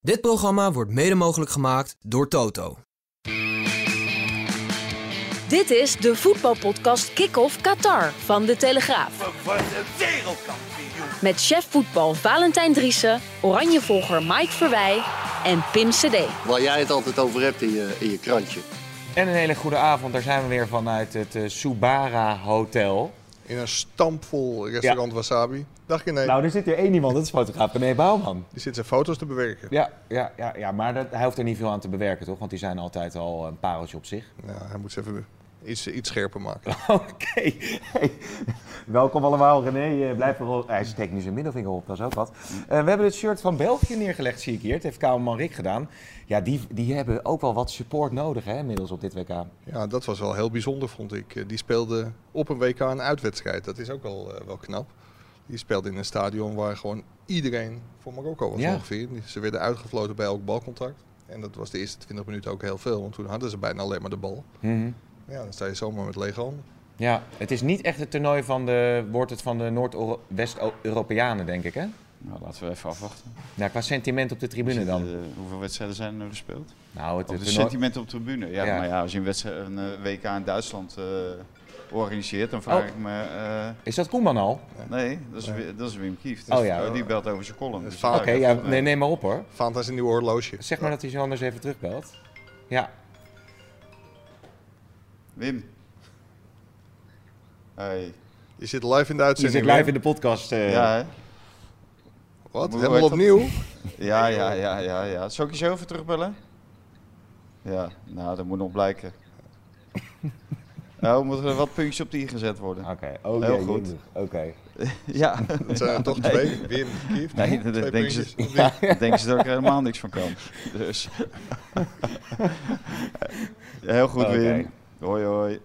Dit programma wordt mede mogelijk gemaakt door Toto. Dit is de voetbalpodcast Kick-Off Qatar van De Telegraaf. Met chef voetbal Valentijn Driessen, oranjevolger Mike Verwij en Pim Cedee. Waar jij het altijd over hebt in je, in je krantje. En een hele goede avond, daar zijn we weer vanuit het eh, Subara Hotel. In een stampvol restaurant Wasabi. Dacht je nee, Nou, er zit hier één iemand, dat is fotograaf René Bouwman. die zit zijn foto's te bewerken. Ja, ja, ja, ja maar dat, hij hoeft er niet veel aan te bewerken, toch? Want die zijn altijd al een pareltje op zich. Ja, hij moet ze even iets, iets scherper maken. Oké. Hey. Welkom allemaal, René. eh, Blijf er... Hij steekt nu zijn middelvinger op, dat is ook wat. Eh, we hebben het shirt van België neergelegd, zie ik hier. Het heeft Kauwman Rick gedaan. Ja, die, die hebben ook wel wat support nodig, hè, inmiddels op dit WK. Ja, dat was wel heel bijzonder, vond ik. Eh, Die speelde op een WK een uitwedstrijd. Dat is ook wel, eh, wel knap. Die speelde in een stadion waar gewoon iedereen voor Marokko was Ja. ongeveer. Ze werden uitgefloten bij elk balcontact. En dat was de eerste 20 minuten ook heel veel, want toen hadden ze bijna alleen maar de bal. Mhm. Ja, dan sta je zomaar met lege handen. Ja, het is niet echt het toernooi van de, wordt het van de Noord-West-Europeanen, denk ik, hè? Nou, laten we even afwachten. Nou, qua sentiment op de tribune dan. Eh, hoeveel wedstrijden zijn er nou gespeeld? Nou, het, Op de toernooi- sentimenten op de tribune. Ja, Ja. maar ja, als je een, wedstrijd, een eh, WK in Duitsland eh, organiseert, dan vraag Oh. ik me... eh, Is dat Koeman al? nee, dat is, Wi- dat is Wim Kieft. Oh ja. die belt over zijn column. Dus Vaak. Oké, ik dacht, ja, eh, nee, neem maar op hoor. Fanta is een nieuw horloge. Zeg maar dat hij zo anders even terugbelt. Ja. Wim. Hey. Je zit live in Je de zit uitzending. live hè? in de podcast. eh. Ja, hè? Wat? Hoe Helemaal heet dat? opnieuw? ja, ja, ja, ja, ja. Zal ik je zo even terugbellen? Ja, nou, dat moet nog blijken. nou, moeten er wat puntjes op de i gezet worden. Oké, oh Heel jee, goed. jee. Oké. Ja. Het zijn er toch twee. Wim, Kieft. Nee, dat twee denken ze, puntjes. ja, denken ze dat ik er helemaal niks van kan. Dus. Heel goed, Oké. Wim. Hoi, hoi.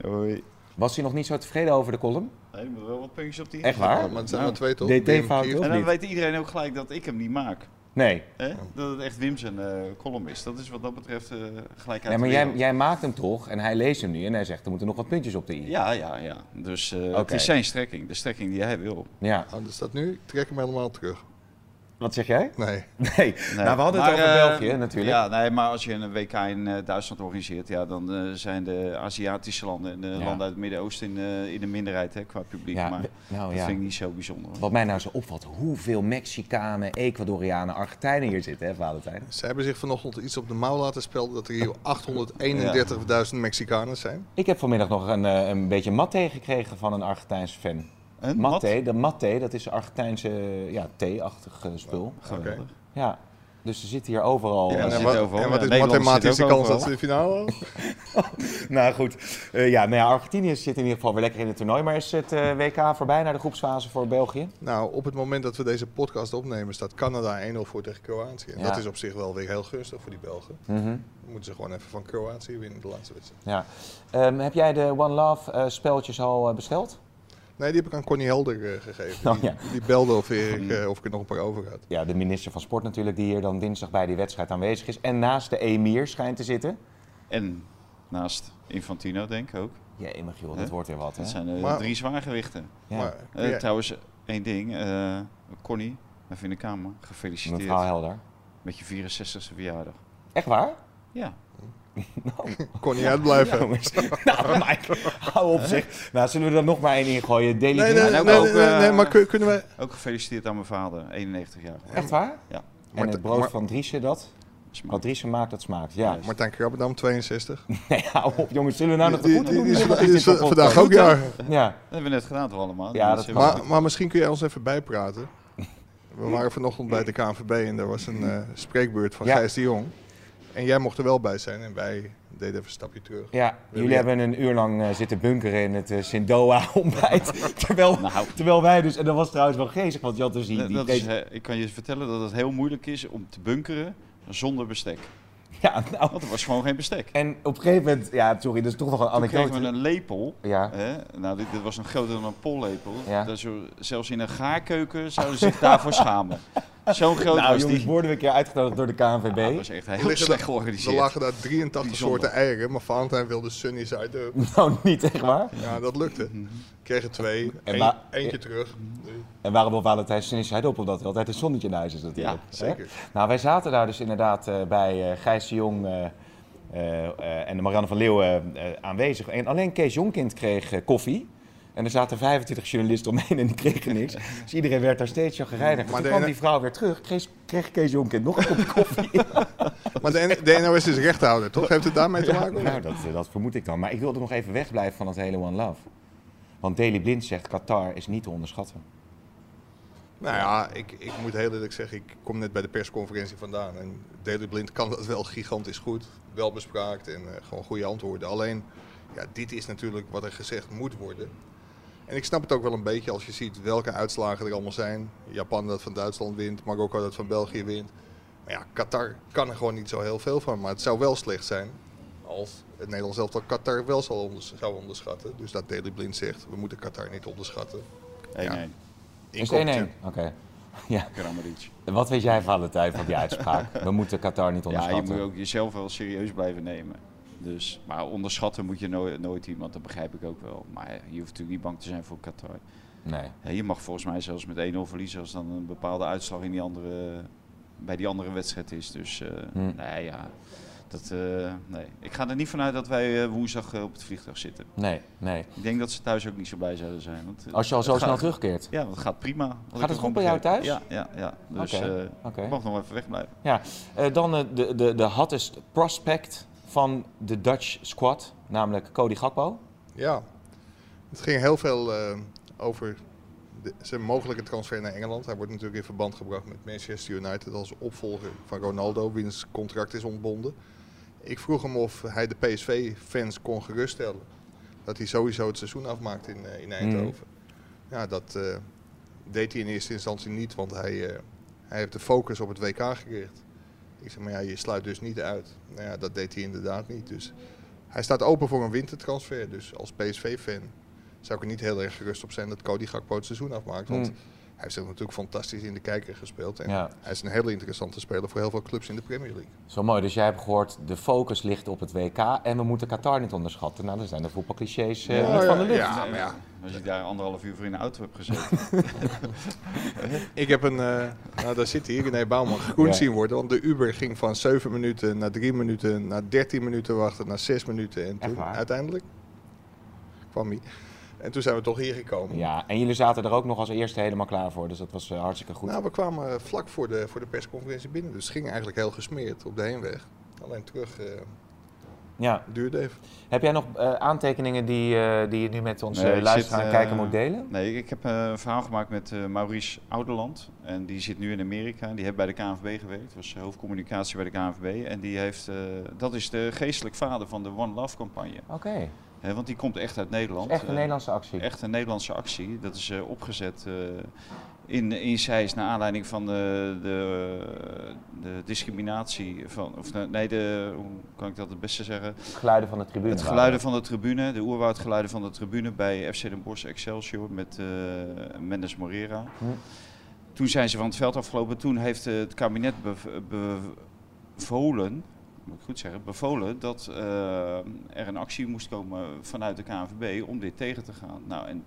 Hoi. Was hij nog niet zo tevreden over de column? Nee, er moeten wel wat puntjes op die. Echt Ja, waar? maar het zijn Nou, er twee toch? DT Wim, fout, Kieft. toch? En Of dan niet? weet iedereen ook gelijk dat ik hem niet maak. Nee. Hè? Oh. Dat het echt Wim zijn eh, column is. Dat is wat dat betreft eh gelijkheid. nee maar de jij, wereld. jij maakt hem toch en hij leest hem nu en hij zegt er moeten nog wat puntjes op de i. Ja, ja, ja. Dus eh, het Oké. is zijn strekking. De strekking die hij wil. Ja. Oh, dus dat nu? Ik trek hem helemaal terug. Wat zeg jij? Nee. Nee. Nou, we hadden Maar, het over eh, België natuurlijk. Ja, nee, maar als je een WK in eh, Duitsland organiseert, ja, dan eh, zijn de Aziatische landen en de Ja. landen uit het Midden-Oosten in, eh, in de minderheid hè, qua publiek. Ja, maar we- nou dat ja. vind ik niet zo bijzonder. hoor. Wat mij nou zo opvalt, hoeveel Mexicanen, Ecuadorianen, Argentijnen hier zitten, hè, Valentijn? Ze hebben zich vanochtend iets op de mouw laten spelen dat er hier 831.000 Mexicanen zijn. Ik heb vanmiddag nog een, eh, een beetje maté gekregen van een Argentijnse fan. Een Maté, de maté, dat is een Argentijnse ja, thee-achtig eh, spul. Oh, Oké. Ja, dus ze zitten hier overal. Ja, En, ze en, eh, wat, zitten overal. en wat Ja, is Nederlanders mathematisch de zitten ook kans dat ze overal. de finale halen? nou goed, Eh, ja, nou ja, Argentinië zit in ieder geval weer lekker in het toernooi. Maar is het eh, WK voorbij naar de groepsfase voor België? Nou, op het moment dat we deze podcast opnemen staat Canada 1-0 voor tegen Kroatië. En Ja. dat is op zich wel weer heel gunstig voor die Belgen. Mhm. Dan moeten ze gewoon even van Kroatië winnen de laatste wedstrijd. Ja. Ehm, heb jij de One Love eh, speltjes al eh, besteld? Nee, die heb ik aan Connie Helder eh, gegeven. Oh, die, ja. die belde of ik, eh, of ik er nog een paar over had. Ja, de minister van Sport natuurlijk, die hier dan dinsdag bij die wedstrijd aanwezig is. En naast de emir schijnt te zitten. En naast Infantino, denk ik ook. Jemig joh, dat Hè? wordt weer wat. Hè? Dat zijn eh, Maar- drie zwaargewichten. Ja. Maar, Eh, ja, Trouwens, één ding. eh, Connie, even in de kamer. Mevrouw Gefeliciteerd Helder. met je 64ste verjaardag. Echt waar? Ja, Connie uitblijven. jongens. Nou, Mike, hou op zich. Nou, zullen we er nog maar één in gooien? Daily Nee, Blind. nee, nee, ook nee, ook, nee, nee, eh, maar kun- kunnen we... ook gefeliciteerd aan mijn vader, 91 jaar. Echt waar? Ja, En het brood van Driesje, dat? smaak. Wat Driesje maakt, dat smaakt. Ja. Martijn Krabbendam, 62. Nee, hou op, jongens. Zullen we nou nog de Die, goed die, doen? die is, Of die dit is eh, nog wel vandaag ook goed? jaar. Ja. Dat hebben we net gedaan toch allemaal? Ja, dat hebben we- Maar, maar misschien kun jij ons even bijpraten. We waren vanochtend bij de KNVB en daar was een eh, spreekbeurt van Ja. Gijs de Jong. En jij mocht er wel bij zijn en wij deed even een stapje terug. Ja, jullie je- hebben een uur lang eh, zitten bunkeren in het eh, Sindoa-ontbijt. terwijl, Nou. terwijl wij dus, en dat was trouwens wel geestig, want Jan te zien, Dat- die dat is, kreeg- eh, ik kan je vertellen dat het heel moeilijk is om te bunkeren zonder bestek. ja, nou, Want er was gewoon geen bestek. En op een gegeven moment, ja, sorry, dat is toch nog een Toen kregen anekdote. we een lepel. Ja. Hè? Nou, dit, dit was nog groter dan een pollepel. Ja. Daar zo, zelfs in een gaarkeuken zouden ze zich daarvoor schamen. Zo'n groot Nou, was jongens, die. worden we een keer uitgenodigd door de KNVB. Dat was echt heel liggen slecht daar- georganiseerd. Er lagen daar 83 Bijzonder. soorten eieren, maar Valentijn wilde sunnies uit de... Nou, niet, echt waar. Ja, dat lukte. Kregen twee, En Eén- maar- eentje terug. En waarom wil Valentijn Sinis hij op, omdat er altijd een zonnetje in huis is natuurlijk. Ja, Hè? zeker. Nou, wij zaten daar dus inderdaad eh, bij eh Gijs de Jong eh, eh, eh, en de Marianne van Leeuwen eh, aanwezig. En alleen Kees Jonkind kreeg eh, koffie. En er zaten 25 journalisten omheen en die kregen niks. Dus iedereen werd daar steeds chagrijnig. Maar Maar toen de kwam ene- die vrouw weer terug, kreeg, kreeg Kees Jonkind nog een kopje koffie. Maar de, N- de NOS is rechthouder, toch? Heeft het daarmee te maken? Nou, dat, eh, dat vermoed ik dan. Maar ik wilde nog even wegblijven van dat hele One Love. Want Daily Blind zegt Qatar is niet te onderschatten. Nou ja, ik, ik moet heel eerlijk zeggen, ik kom net bij de persconferentie vandaan. En Daily Blind kan dat wel gigantisch goed. Wel bespraakt en eh, gewoon goede antwoorden. Alleen, ja, dit is natuurlijk wat er gezegd moet worden. En ik snap het ook wel een beetje als je ziet welke uitslagen er allemaal zijn. Japan dat van Duitsland wint, Marokko dat van België wint. Maar ja, Qatar kan er gewoon niet zo heel veel van. Maar het zou wel slecht zijn als het Nederlands elftal Qatar wel zal onders- zou onderschatten. Dus dat Daily Blind zegt, we moeten Qatar niet onderschatten. Nee, Ja. nee, Is 1-1? Inkompertje. Oké. Ja. Kramaric. Wat weet jij, Valentijn, van die uitspraak? We moeten Qatar niet Ja, je onderschatten. moet ook jezelf wel serieus blijven nemen. Dus, maar onderschatten moet je nooit, nooit iemand, dat begrijp ik ook wel. Maar je hoeft natuurlijk niet bang te zijn voor Qatar. Nee. Ja, je mag volgens mij zelfs met 1-0 verliezen als dan een bepaalde uitslag in die andere, bij die andere wedstrijd is. Dus eh, Hm. nee, ja. Dat, eh, nee. Ik ga er niet vanuit dat wij eh, woensdag eh, op het vliegtuig zitten. Nee, nee. Ik denk dat ze thuis ook niet zo blij zouden zijn. Want, eh, Als je al het zo gaat- snel terugkeert. Ja, dat gaat prima. Had ik het ook goed wel bij jou begrepen. thuis? Ja, ja, ja. Dus Oké, eh, oké. ik mag nog even wegblijven. Ja. Eh, dan eh, de, de, de hottest prospect van de Dutch squad, namelijk Cody Gakpo. Ja, het ging heel veel eh, over de- zijn mogelijke transfer naar Engeland. Hij wordt natuurlijk in verband gebracht met Manchester United als opvolger van Ronaldo, wiens contract is ontbonden. Ik vroeg hem of hij de PSV-fans kon geruststellen dat hij sowieso het seizoen afmaakt in, eh, in Eindhoven. Mhm. Ja, dat eh, deed hij in eerste instantie niet, want hij, eh, hij heeft de focus op het WK gericht. Ik zeg maar, ja, je sluit dus niet uit. Nou ja, dat deed hij inderdaad niet. Dus hij staat open voor een wintertransfer. Dus als PSV-fan zou ik er niet heel erg gerust op zijn dat Cody Gakpo het seizoen afmaakt. Want hij heeft zich natuurlijk fantastisch in de kijker gespeeld. En Mhm. Ja. hij is een hele interessante speler voor heel veel clubs in de Premier League. Zo mooi. Dus jij hebt gehoord, de focus ligt op het WK en we moeten Qatar niet onderschatten. Nou, dan zijn de voetbalclichés eh, Ja, van de lucht. Ja, maar ja. Als ik daar anderhalf uur voor in de auto heb gezeten. Ik heb een, eh, nou daar zit hij, René Bouwman, groen Ja. zien worden. Want de Uber ging van 7 minuten naar 3 minuten, naar 13 minuten wachten, naar 6 minuten. En Echt toen waar? uiteindelijk kwam hij. En toen zijn we toch hier gekomen. Ja, en jullie zaten er ook nog als eerste helemaal klaar voor, dus dat was eh, hartstikke goed. Nou, we kwamen eh, vlak voor de, voor de persconferentie binnen. Dus het ging eigenlijk heel gesmeerd op de heenweg. Alleen terug eh, ja. duurde even. Heb jij nog eh, aantekeningen die, eh, die je nu met ons Nee, eh ik luisteraar zit, en eh, kijker moet delen? Nee, ik heb eh, een verhaal gemaakt met eh, Maurice Ouderland. En die zit nu in Amerika. Die heeft bij de KNVB gewerkt. Was eh, hoofdcommunicatie bij de KNVB. En die heeft, eh, dat is de geestelijk vader van de One Love campagne. Oké, Hè, want die komt echt uit Nederland. echt een Eh, Nederlandse actie. Echt een Nederlandse actie. Dat is eh, opgezet eh, in, in Zeist naar aanleiding van eh, de, de, de discriminatie van, of de- nee, de, hoe kan ik dat het beste zeggen? geluiden van de tribune. Het geluiden van de tribune, de oerwoudgeluiden van de tribune bij FC Den Bosch Excelsior met eh, Mendes Morera. Toen zijn ze van het veld afgelopen. Toen heeft eh, het kabinet bev- bevolen, moet ik goed zeggen, bevolen dat eh, er een actie moest komen vanuit de KNVB om dit tegen te gaan. Nou, en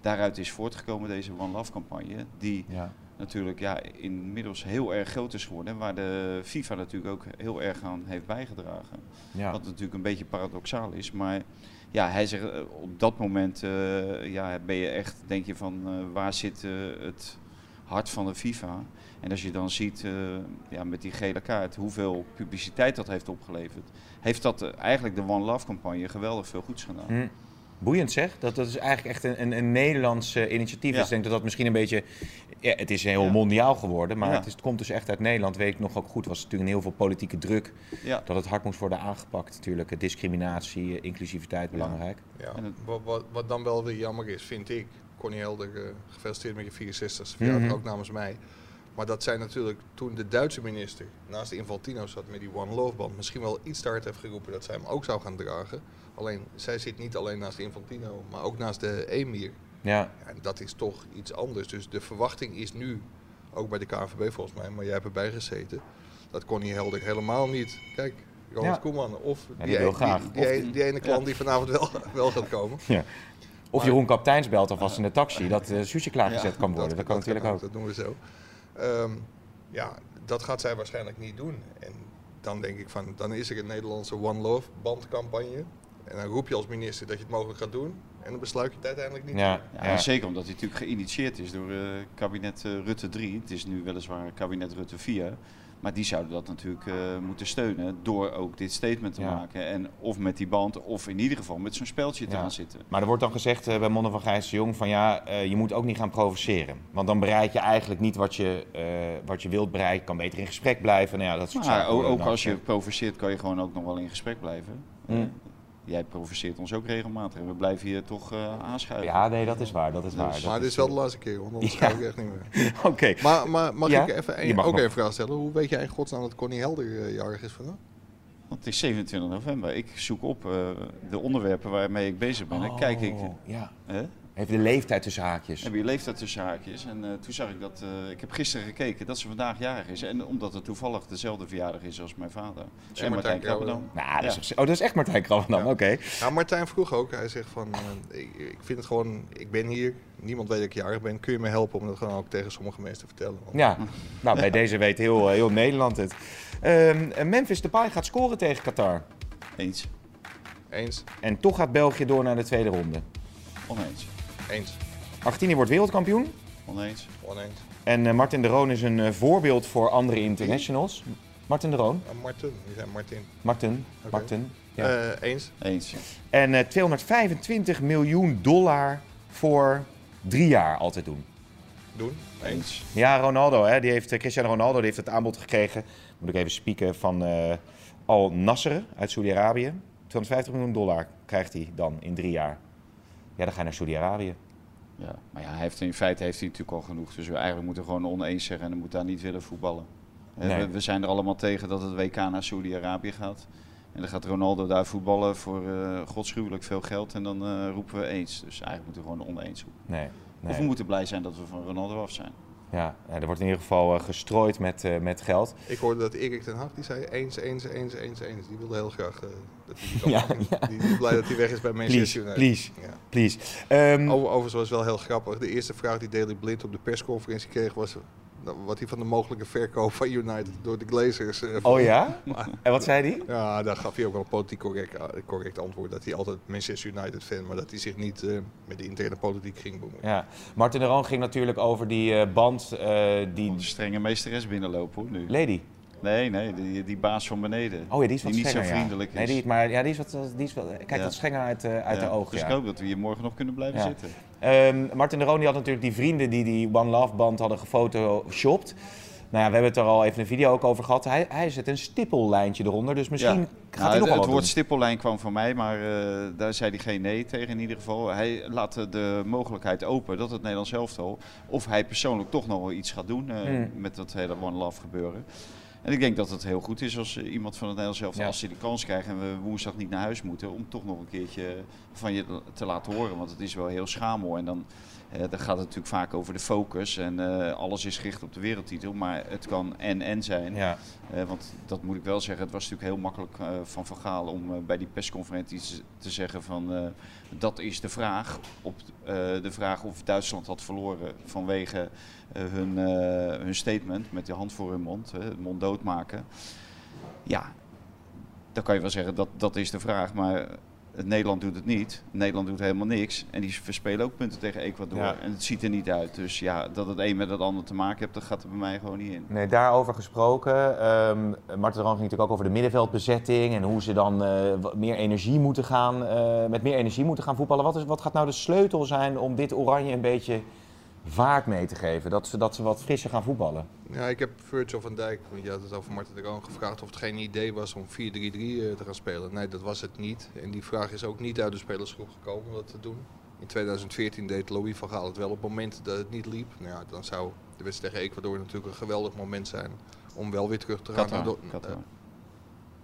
daaruit is voortgekomen deze One Love campagne, die Ja. natuurlijk ja, inmiddels heel erg groot is geworden. En waar de FIFA natuurlijk ook heel erg aan heeft bijgedragen. Ja. Wat natuurlijk een beetje paradoxaal is. Maar ja, hij zegt eh, op dat moment eh, ja, ben je echt, denk je van eh, waar zit eh, het hart van de FIFA? En als je dan ziet eh, ja, met die gele kaart hoeveel publiciteit dat heeft opgeleverd, heeft dat eh, eigenlijk de One Love campagne geweldig veel goeds gedaan. Hm. Boeiend zeg, dat, dat is eigenlijk echt een, een, een Nederlands eh, initiatief. Ja. Dus ik denk dat dat misschien een beetje ja, het is heel Ja. mondiaal geworden, maar Ja. het, is, het komt dus echt uit Nederland, weet ik nog ook goed. was natuurlijk heel veel politieke druk Ja. dat het hard moest worden aangepakt natuurlijk. Eh, Discriminatie, eh, inclusiviteit, belangrijk. Ja. En het- Wat, wat, wat dan wel weer jammer is, vind ik. Connie Helder, eh, gefeliciteerd met je 64 e verjaardag, Mhm. ook namens mij. Maar dat zijn natuurlijk toen de Duitse minister naast Infantino zat met die One Love band, misschien wel iets te hard heeft geroepen dat zij hem ook zou gaan dragen. Alleen, zij zit niet alleen naast Infantino, maar ook naast de Emir. Ja, Ja, en dat is toch iets anders. Dus de verwachting is nu, ook bij de KNVB volgens mij, maar jij hebt erbij gezeten, dat Connie Helder helemaal niet. Kijk, Ronald Ja. Koeman of die wil e- graag. Die, die, die ene klant die vanavond wel, wel gaat komen. Of Jeroen Kapteins belt alvast in de taxi dat eh Suusje klaargezet kan worden. Dat, kan natuurlijk ook. Dat doen we zo. Ehm, ja, dat gaat zij waarschijnlijk niet doen. En dan denk ik van, dan is er een Nederlandse One Love bandcampagne. En dan roep je als minister dat je het mogelijk gaat doen. En dan besluit je het uiteindelijk niet. Ja, Ja, ja. en Zeker omdat hij natuurlijk geïnitieerd is door eh, kabinet eh, Rutte 3. Het is nu weliswaar kabinet Rutte 4. Maar die zouden dat natuurlijk eh, moeten steunen door ook dit statement te Ja. maken. En of met die band, of in ieder geval met zo'n speltje te Ja. gaan zitten. Maar er wordt dan gezegd eh, bij Monden van Gijs de Jong van ja, eh, je moet ook niet gaan provoceren. Want dan bereik je eigenlijk niet wat je, eh, wat je wilt bereiken. Je kan beter in gesprek blijven. Nou ja, dat soort Maar zaken ook, worden ook dan als je gezegd. provoceert, kan je gewoon ook nog wel in gesprek blijven. Mm. Eh, Jij provoceert ons ook regelmatig en we blijven hier toch eh aanschuiven. Ja, nee, dat is waar. Dat is waar. Dat Maar dit is wel de laatste keer, want anders Ja. ga ik echt niet meer. Oké. Maar, maar mag Ja, ik even je een, mag ook nog. een vraag stellen? Hoe weet jij in godsnaam dat Connie Helder eh, jarig is vandaag? Want het is 27 november. Ik zoek op eh, de onderwerpen waarmee ik bezig ben. Dan kijk ik, Oh, Ja. hè? Even de leeftijd tussen haakjes. heb je leeftijd tussen haakjes. En eh, toen zag ik dat, eh, ik heb gisteren gekeken dat ze vandaag jarig is. En omdat het toevallig dezelfde verjaardag is als mijn vader. en Martijn Martijn Krabbendam. Nou, dat is, echt- oh, dat is echt Martijn Krabbendam. Oké. Ja, Nou, Martijn vroeg ook. Hij zegt van, eh, ik, ik vind het gewoon, ik ben hier. Niemand weet dat ik jarig ben. Kun je me helpen om dat gewoon ook tegen sommige mensen te vertellen? Want- Ja, nou bij deze weet heel, eh, heel Nederland het. Ehm Memphis Depay gaat scoren tegen Qatar. Eens, Eens, En toch gaat België door naar de tweede ronde. oneens, eens, Argentinië wordt wereldkampioen. oneens. oneens. En eh, Martin de Roon is een eh, voorbeeld voor andere internationals. Martin de Roon. Ja, Nou, Martin, die zijn Martin. Martin. Oké. Martin. Ja. Eh, eens, Eens. En eh, 225 miljoen dollar voor drie jaar altijd doen. doen. Eens. Eens. Ja, Ronaldo, hè, die heeft, eh, Cristiano Ronaldo die heeft het aanbod gekregen. Moet ik even spieken van eh, Al Nasser uit Saudi-Arabië. 250 miljoen dollar krijgt hij dan in drie jaar. Ja, dan ga je naar Saudi-Arabië. Ja. Maar ja, hij heeft, in feite heeft hij natuurlijk al genoeg. Dus we eigenlijk moeten gewoon oneens zeggen en dan moet daar niet willen voetballen. Hè, Nee. We, we zijn er allemaal tegen dat het WK naar Saudi-Arabië gaat. En dan gaat Ronaldo daar voetballen voor eh godschuwelijk veel geld. En dan eh, roepen we eens. Dus eigenlijk moeten we gewoon oneens roepen. Nee. Of we nee. moeten blij zijn dat we van Ronaldo af zijn. Ja, nou, er wordt in ieder geval eh, gestrooid met, eh, met geld. Ik hoorde dat Erik ten Hag die zei eens, eens, eens, eens, eens. Die wilde heel graag eh, dat hij die Ja, kan maken. Die is blij dat hij weg is bij Please, Manchester United. please, Ja. please. Ehm, Over- Overigens was wel heel grappig. De eerste vraag die Daley Blind op de persconferentie kreeg was nou, wat hij van de mogelijke verkoop van United door de Glazers. eh, oh ja? En wat zei hij? Ja, daar gaf hij ook wel een politiek correct, eh, correct antwoord. Dat hij altijd Manchester United fan, maar dat hij zich niet eh, met de interne politiek ging bemoeien. Ja. Martin de Roon ging natuurlijk over die eh, band, eh, die Een strenge meesteres binnenlopen hoor, nu. lady. Nee, nee, die, die baas van beneden. Oh ja, die is wat niet zo strenger, ja. vriendelijk Nee, is. die, maar, ja, die is wat, eh, die is wel. kijk Ja. wat strenger uit, eh, uit Ja, de ogen. Dus ja. ik hoop dat we hier morgen nog kunnen blijven Ja. zitten. Ehm, Martin de Roon die had natuurlijk die vrienden die die One Love band hadden gefotoshopt. Nou ja, we hebben het er al even een video ook over gehad. Hij, hij zet een stippellijntje eronder, dus misschien Ja. gaat hij nog Nou, wel het, het wat woord doen. stippellijn kwam van mij, maar eh, daar zei hij geen nee tegen in ieder geval. Hij laat eh, de mogelijkheid open dat het Nederlands elftal... of hij persoonlijk toch nog wel iets gaat doen eh, Hmm. met dat hele One Love gebeuren. En ik denk dat het heel goed is als eh, iemand van het Nederlands elftal... Ja. als ze de kans krijgt en we woensdag niet naar huis moeten... om toch nog een keertje van je te laten horen. Want het is wel heel schamel. En dan, eh, dan gaat het natuurlijk vaak over de focus. En eh, alles is gericht op de wereldtitel. Maar het kan en-en zijn. Ja, Eh, want dat moet ik wel zeggen, het was natuurlijk heel makkelijk eh, van Van Gaal om eh, bij die persconferentie z- te zeggen van eh, dat is de vraag. Op eh, de vraag of Duitsland had verloren vanwege eh, hun, eh, hun statement met de hand voor hun mond, hè, het mond doodmaken. Ja, dan kan je wel zeggen dat dat is de vraag, maar Nederland doet het niet. Nederland doet helemaal niks en die verspelen ook punten tegen Ecuador Ja. en het ziet er niet uit. Dus ja, dat het een met het ander te maken heeft, dat gaat er bij mij gewoon niet in. nee, daarover gesproken. Ehm Martin de Roon ging natuurlijk ook over de middenveldbezetting en hoe ze dan eh, wat meer energie moeten gaan, eh, met meer energie moeten gaan voetballen. Wat, is, wat gaat nou de sleutel zijn om dit oranje een beetje vaart mee te geven. Dat ze, dat ze wat frisser gaan voetballen. Ja, ik heb Virgil van Dijk, want je had het over Marten de Roon, gevraagd of het geen idee was om 4-3-3 eh, te gaan spelen. Nee, dat was het niet. En die vraag is ook niet uit de spelersgroep gekomen om dat te doen. In 2014 deed Louis van Gaal het wel op momenten dat het niet liep. Nou ja, dan zou de wedstrijd tegen Ecuador natuurlijk een geweldig moment zijn om wel weer terug te gaan. naar Qatar. do- Qatar. eh,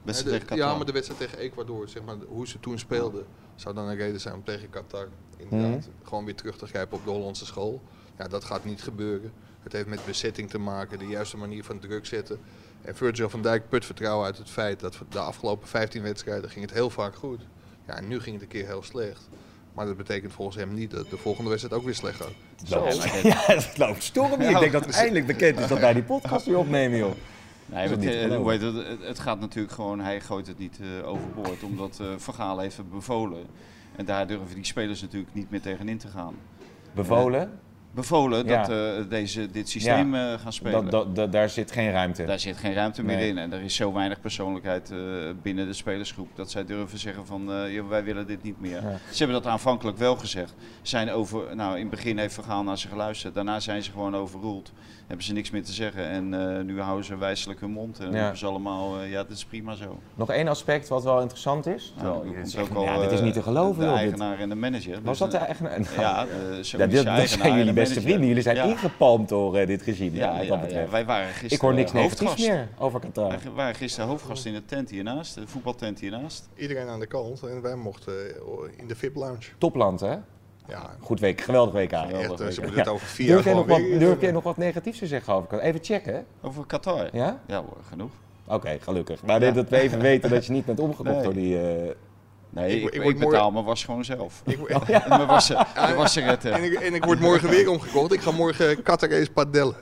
Best Nee, de- tegen Qatar. Ja, maar de wedstrijd tegen Ecuador, zeg maar, hoe ze toen speelden, zou dan een reden zijn om tegen Qatar inderdaad Mhm. gewoon weer terug te grijpen op de Hollandse school. Ja, dat gaat niet gebeuren. Het heeft met bezetting te maken, de juiste manier van druk zetten. En Virgil van Dijk put vertrouwen uit het feit dat de afgelopen 15 wedstrijden ging het heel vaak goed. Ja, en nu ging het een keer heel slecht. Maar dat betekent volgens hem niet dat de volgende wedstrijd ook weer slecht gaat. Loopt- Ja, dat loopt storm hier. Ik denk dat het eindelijk bekend is dat wij die podcast weer opnemen, joh. Nee, Is maar het het, niet te eh, geloven? hoe heet het, het- het gaat natuurlijk gewoon, hij gooit het niet eh, overboord, omdat eh Van Gaal heeft het bevolen. En daar durven die spelers natuurlijk niet meer tegenin te gaan. Bevolen, Bevolen Ja. dat eh, deze, dit systeem eh, gaan spelen. dat, dat, dat- daar zit geen ruimte. Daar zit geen ruimte meer Nee. in. En er is zo weinig persoonlijkheid eh, binnen de spelersgroep dat zij durven zeggen van eh, "Ja, wij willen dit niet meer. Ja. Ze hebben dat aanvankelijk wel gezegd. Zijn over, nou, in het begin heeft Vergaal naar ze geluisterd. Daarna zijn ze gewoon overroeld. Hebben ze niks meer te zeggen. En eh, nu houden ze wijselijk hun mond. En Ja. roepen ze allemaal, eh, ja, dit is prima zo. Nog één aspect wat wel interessant is. Nou, Terwijl er je komt zegt, ook al, ja, dit is eh, niet te geloven, De joh. dit- eigenaar en de manager. Was Dus, dat de eh, eigenaar? Nou, Ja, eh, zo ja, is dit, je dat eigenaar zijn en de jullie beste manager. vrienden. Jullie zijn Ja. ingepalmd door eh, dit gezien. wat Ja, dat ja, ja. betreft. wij waren gisteren Ik hoor niks eh, negatiefs hoofdgast. meer over Qatar. Wij waren gisteren hoofdgast in de tent hiernaast, de voetbaltent hiernaast. Iedereen aan de kant en wij mochten eh, in de VIP-lounge. Topland, hè? Ja, Goed week, geweldig WK. echt, eh, WK. ze moeten het over vier jaar Durf jij nog gewoon wat, weer- durf jij nog wat negatiefs te zeggen over Qatar? Even checken, hè? Over Qatar. Ja? Ja hoor, genoeg. Oké, gelukkig. Maar dit- dat we even weten dat je niet bent omgekocht Nee. door die... eh, Nee, Ik- ik, ik ik, word betaal mijn was gewoon zelf. Ik, Mijn wassen, de wasseretten. En ik, en ik word morgen weer omgekocht. Ik ga morgen Qatar padellen.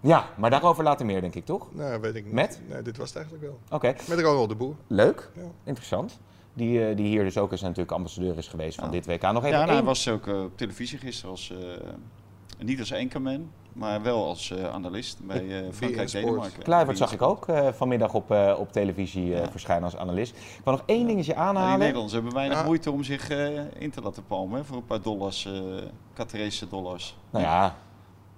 Ja, maar daarover later meer, denk ik, toch? Nou, weet ik niet. Met? Nee, dit was het eigenlijk wel. Oké, Met Ronald de Boer. leuk. Ja. Interessant. Die, eh, die hier dus ook eens natuurlijk ambassadeur is geweest van Ja. dit WK. Nog even Ja, nou, hij één- was ook eh, op televisie gisteren als, eh, niet als anchorman, maar wel als eh, analist bij eh, Frankrijk-Denemarken. Kluivert zag ik ook eh, vanmiddag op, eh, op televisie eh, Ja. verschijnen als analist. Ik wil nog één dingetje Nou, die aanhalen. Nederlanders hebben weinig Ja. moeite om zich eh, in te laten palmen hè, voor een paar dollars, eh Qatarese dollars. nou ja,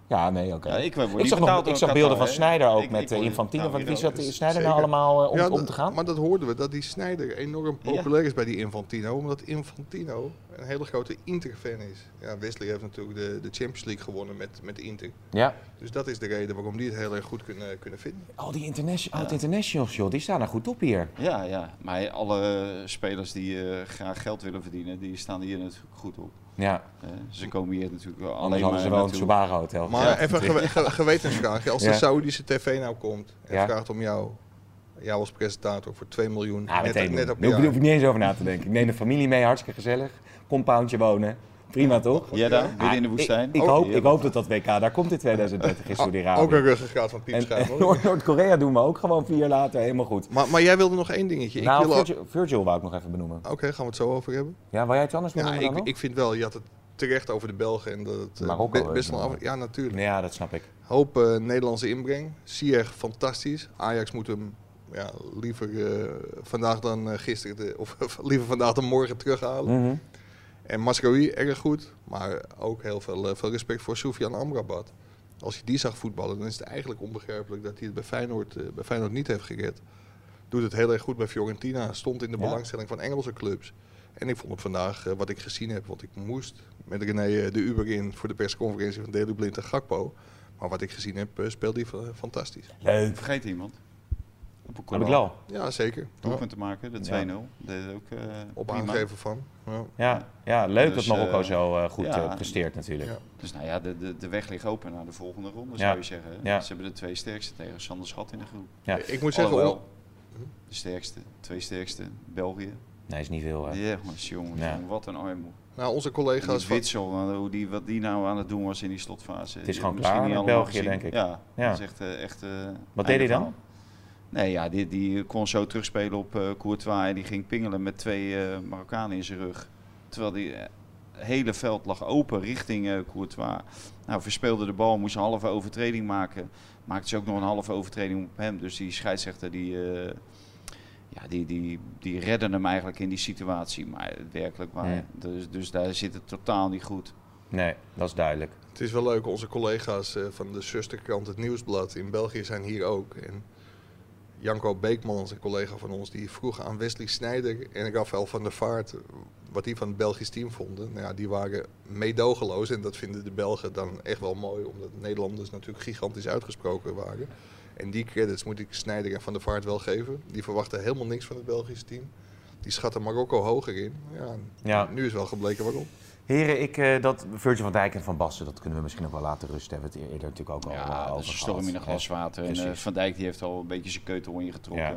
ja nee, oké. Ja, ik, word niet zag, nog- betaald ik door zag Qatar, beelden van hè. Snijder ook Ik- met ik eh, word- Infantino. nou, Want wie weer zat ook. die Snijder nou Zeker. allemaal eh, om, Ja, om d- te gaan? Maar dat hoorden we, dat die Snijder enorm populair is bij die Infantino. Omdat Infantino een hele grote Inter-fan is. Ja, Wesley heeft natuurlijk de, de Champions League gewonnen met, met Inter. Ja. Dus dat is de reden waarom die het heel erg goed kunnen, kunnen vinden. Al Oh, die interna- oud-internationals, joh, die staan er goed op hier. Ja, ja, maar alle spelers die eh, graag geld willen verdienen, die staan hier natuurlijk goed op. Ja, Eh, ze komen hier natuurlijk wel anders alleen maar hadden ze wel een naartoe. Subaru-hotel. Maar even een gewe- ge- gewetensvraag. Als de Ja. Saoedische tv nou komt en Ja. vraagt om jou, jou als presentator voor 2 miljoen. Ja, Ah, meteen. net op Daar hoef, jaar. hoef ik niet eens over na te denken. Ik neem de familie mee, hartstikke gezellig. Compoundje wonen. Prima toch? Ja, daar, midden in de Ah, woestijn. Oh, Ik, ik hoop, ik hoop dat dat WK daar komt in 2030 in Saudi-Arabië. Ook een ruggengraat van Piep En, Schuim, en hoor. Noord- Noord-Korea doen we ook gewoon vier jaar later helemaal goed. Maar, maar jij wilde nog één dingetje. Ik nou, wil- Virgil, Virgil wou ik nog even benoemen. Oké, gaan we het zo over hebben? Ja, wil jij iets anders Ja, benoemen ik, dan nog? ik vind wel, je had het terecht over de Belgen en dat het eh, Marokko be- ook best wel nog. af... Ja, natuurlijk. Ja, dat snap ik. Hoop eh, Nederlandse inbreng. Sier, fantastisch. Ajax moet hem ja, liever eh, vandaag dan eh, gisteren, de- of liever vandaag dan morgen terughalen. Mhm. En Mascaroui, erg goed. Maar ook heel veel, eh, veel respect voor Soufiane Amrabat. Als je die zag voetballen, dan is het eigenlijk onbegrijpelijk dat hij het bij Feyenoord, eh, bij Feyenoord niet heeft gered. Doet het heel erg goed bij Fiorentina. Stond in de Ja. belangstelling van Engelse clubs. En ik vond hem vandaag, eh, wat ik gezien heb, want ik moest met René eh, de Uber in voor de persconferentie van Delu Blind en Gakpo. Maar wat ik gezien heb, eh, speelde hij fa- fantastisch. Leuk. Vergeet iemand. Op Heb ik wel. Ja, zeker. Ja, Doelpunt te maken, de 2-0. Deed het ook eh, Op prima. aangeven van. Ja. Ja, ja leuk Dus, dat Marokko eh, zo eh, goed ja. eh, presteert natuurlijk. Ja. Dus nou ja, de, de, de weg ligt open naar de volgende ronde, Ja. zou je zeggen. hè. Ja. Ze hebben de twee sterkste tegen Sander Schat in de groep. Ja. Ik moet zeggen, Alhoewel, de sterkste, twee sterkste, België. Nee, is niet veel. Ja, eh. jongens, jongens, Ja. jongen, wat een armoe. nou, onze En collega's die van, Witsel, nou, hoe die, wat die nou aan het doen was in die slotfase. Het is je gewoon hebt klaar misschien niet met allemaal België, denk ik. Ja, Ja. dat is echt... eh, echt eh, Wat einde deed hij dan? verhaal. Nee, ja, die, die kon zo terugspelen op eh, Courtois en die ging pingelen met twee eh, Marokkanen in zijn rug. Terwijl die eh, hele veld lag open richting eh, Courtois. Nou, verspeelde de bal, moest een halve overtreding maken. Maakte ze ook nog een halve overtreding op hem. Dus die scheidsrechter die, eh, ja, die, die, die redden hem eigenlijk in die situatie. Maar werkelijk waar. Ja. Dus, dus daar zit het totaal niet goed. Nee, dat is duidelijk. Het is wel leuk, onze collega's eh, van de zusterkrant Het Nieuwsblad in België zijn hier ook. En Janko Beekman, een collega van ons, die vroeg aan Wesley Snijder en Rafael van der Vaart eh, wat die van het Belgisch team vonden. Nou ja, die waren meedogenloos en dat vinden de Belgen dan echt wel mooi, omdat Nederlanders natuurlijk gigantisch uitgesproken waren. En die credits moet ik Snijder en van der Vaart wel geven. Die verwachten helemaal niks van het Belgische team. Die schatten Marokko hoger in. Ja, Ja. Nu is wel gebleken waarom. Heren, ik, eh, dat Virgil van Dijk en Van Basten, dat kunnen we misschien ook wel laten rusten. Hebben we het eerder natuurlijk ook al eh, Ja, over dat is een gehad. storm in een glas water. En eh, Precies. Van Dijk die heeft al een beetje zijn keutel ingetrokken. Ja.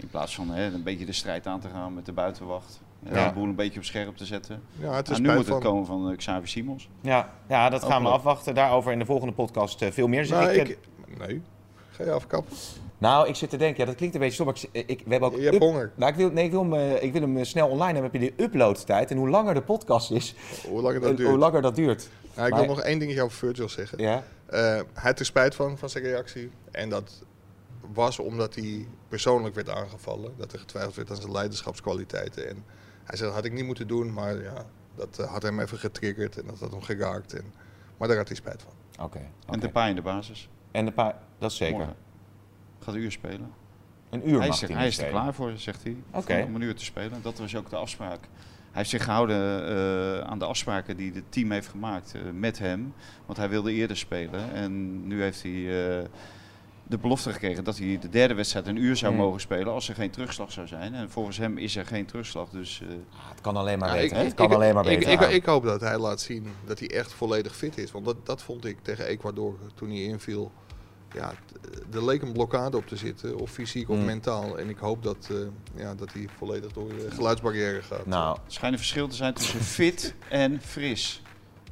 In plaats van hè, een beetje de strijd aan te gaan met de buitenwacht. Eh, Ja. De boel een beetje op scherp te zetten. Ja, het is en nu moet spijt het van- komen van eh, Xavi Simons. Ja, ja, dat gaan we Hopelijk. afwachten. Daarover in de volgende podcast eh, veel meer. Zeg Nou, ik, eh, ik... Nee, ga je afkappen. nou, ik zit te denken, ja, dat klinkt een beetje stom. maar Ik, eh, ik, we hebben ook Je hebt up- honger. Nou, ik wil, nee, ik wil, hem, eh, ik wil hem eh, snel online hebben. Heb je de uploadtijd? En hoe langer de podcast is, Hoe lang eh, dat duurt. hoe langer dat duurt. Nou, ik maar- wil nog één dingetje over Virgil zeggen. Ja, Eh, hij had er spijt van, van zijn reactie. En dat was omdat hij persoonlijk werd aangevallen. Dat er getwijfeld werd aan zijn leiderschapskwaliteiten. En hij zei, dat had ik niet moeten doen. Maar ja, dat eh, had hem even getriggerd en dat had hem geraakt. En, maar daar had hij spijt van. oké. oké. En de paai in de basis. En de paar, dat is zeker. Morgen. Gaat een uur spelen. Een uur Hij mag is, er, hij hij is er besteden. klaar voor, zegt hij. Oké. Om een uur te spelen. Dat was ook de afspraak. Hij heeft zich gehouden eh, aan de afspraken die het team heeft gemaakt eh, met hem. Want hij wilde eerder spelen. En nu heeft hij eh, de belofte gekregen dat hij de derde wedstrijd een uur zou Hmm. mogen spelen. Als er geen terugslag zou zijn. En volgens hem is er geen terugslag. Dus eh, Ah, het kan alleen maar Ja, beter. ik- het kan ik- alleen maar ik- beter. Ik, Ja. ik hoop dat hij laat zien dat hij echt volledig fit is. Want dat, dat vond ik tegen Ecuador toen hij inviel. Ja, t- er leek een blokkade op te zitten, of fysiek of Mm. mentaal. En ik hoop dat, eh, ja, dat hij volledig door de geluidsbarrière gaat. nou, er schijnt een verschil te zijn tussen fit en fris.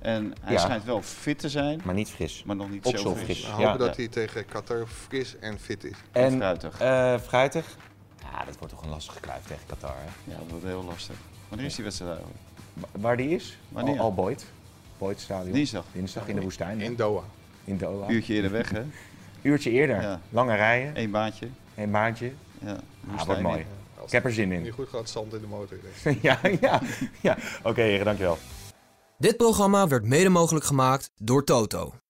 En hij Ja. schijnt wel fit te zijn, maar niet fris. maar nog niet Ook zo zo fris. fris. We Ja. hopen dat hij tegen Qatar fris en fit is. En En fruitig. eh fruitig? Ja, dat wordt toch een lastige kluif tegen Qatar. Hè? Ja, dat wordt heel lastig. Wanneer is die wedstrijd eigenlijk? Wa- Waar die is? Wanneer? Al, Al Boyd. Boyd Stadion. Dinsdag. Dinsdag in de woestijn. hè? In Doha. In Doha. Uurtje eerder weg, hè? Uurtje eerder. Ja. Lange rijen. Eén baantje. Een maandje. Ja, Ah, woestijn wordt in. mooi. Als Ik heb er zin het niet in. goed gaat, zand in de motor. ja, ja, ja. Oké, heren, dankjewel. Dit programma werd mede mogelijk gemaakt door Toto.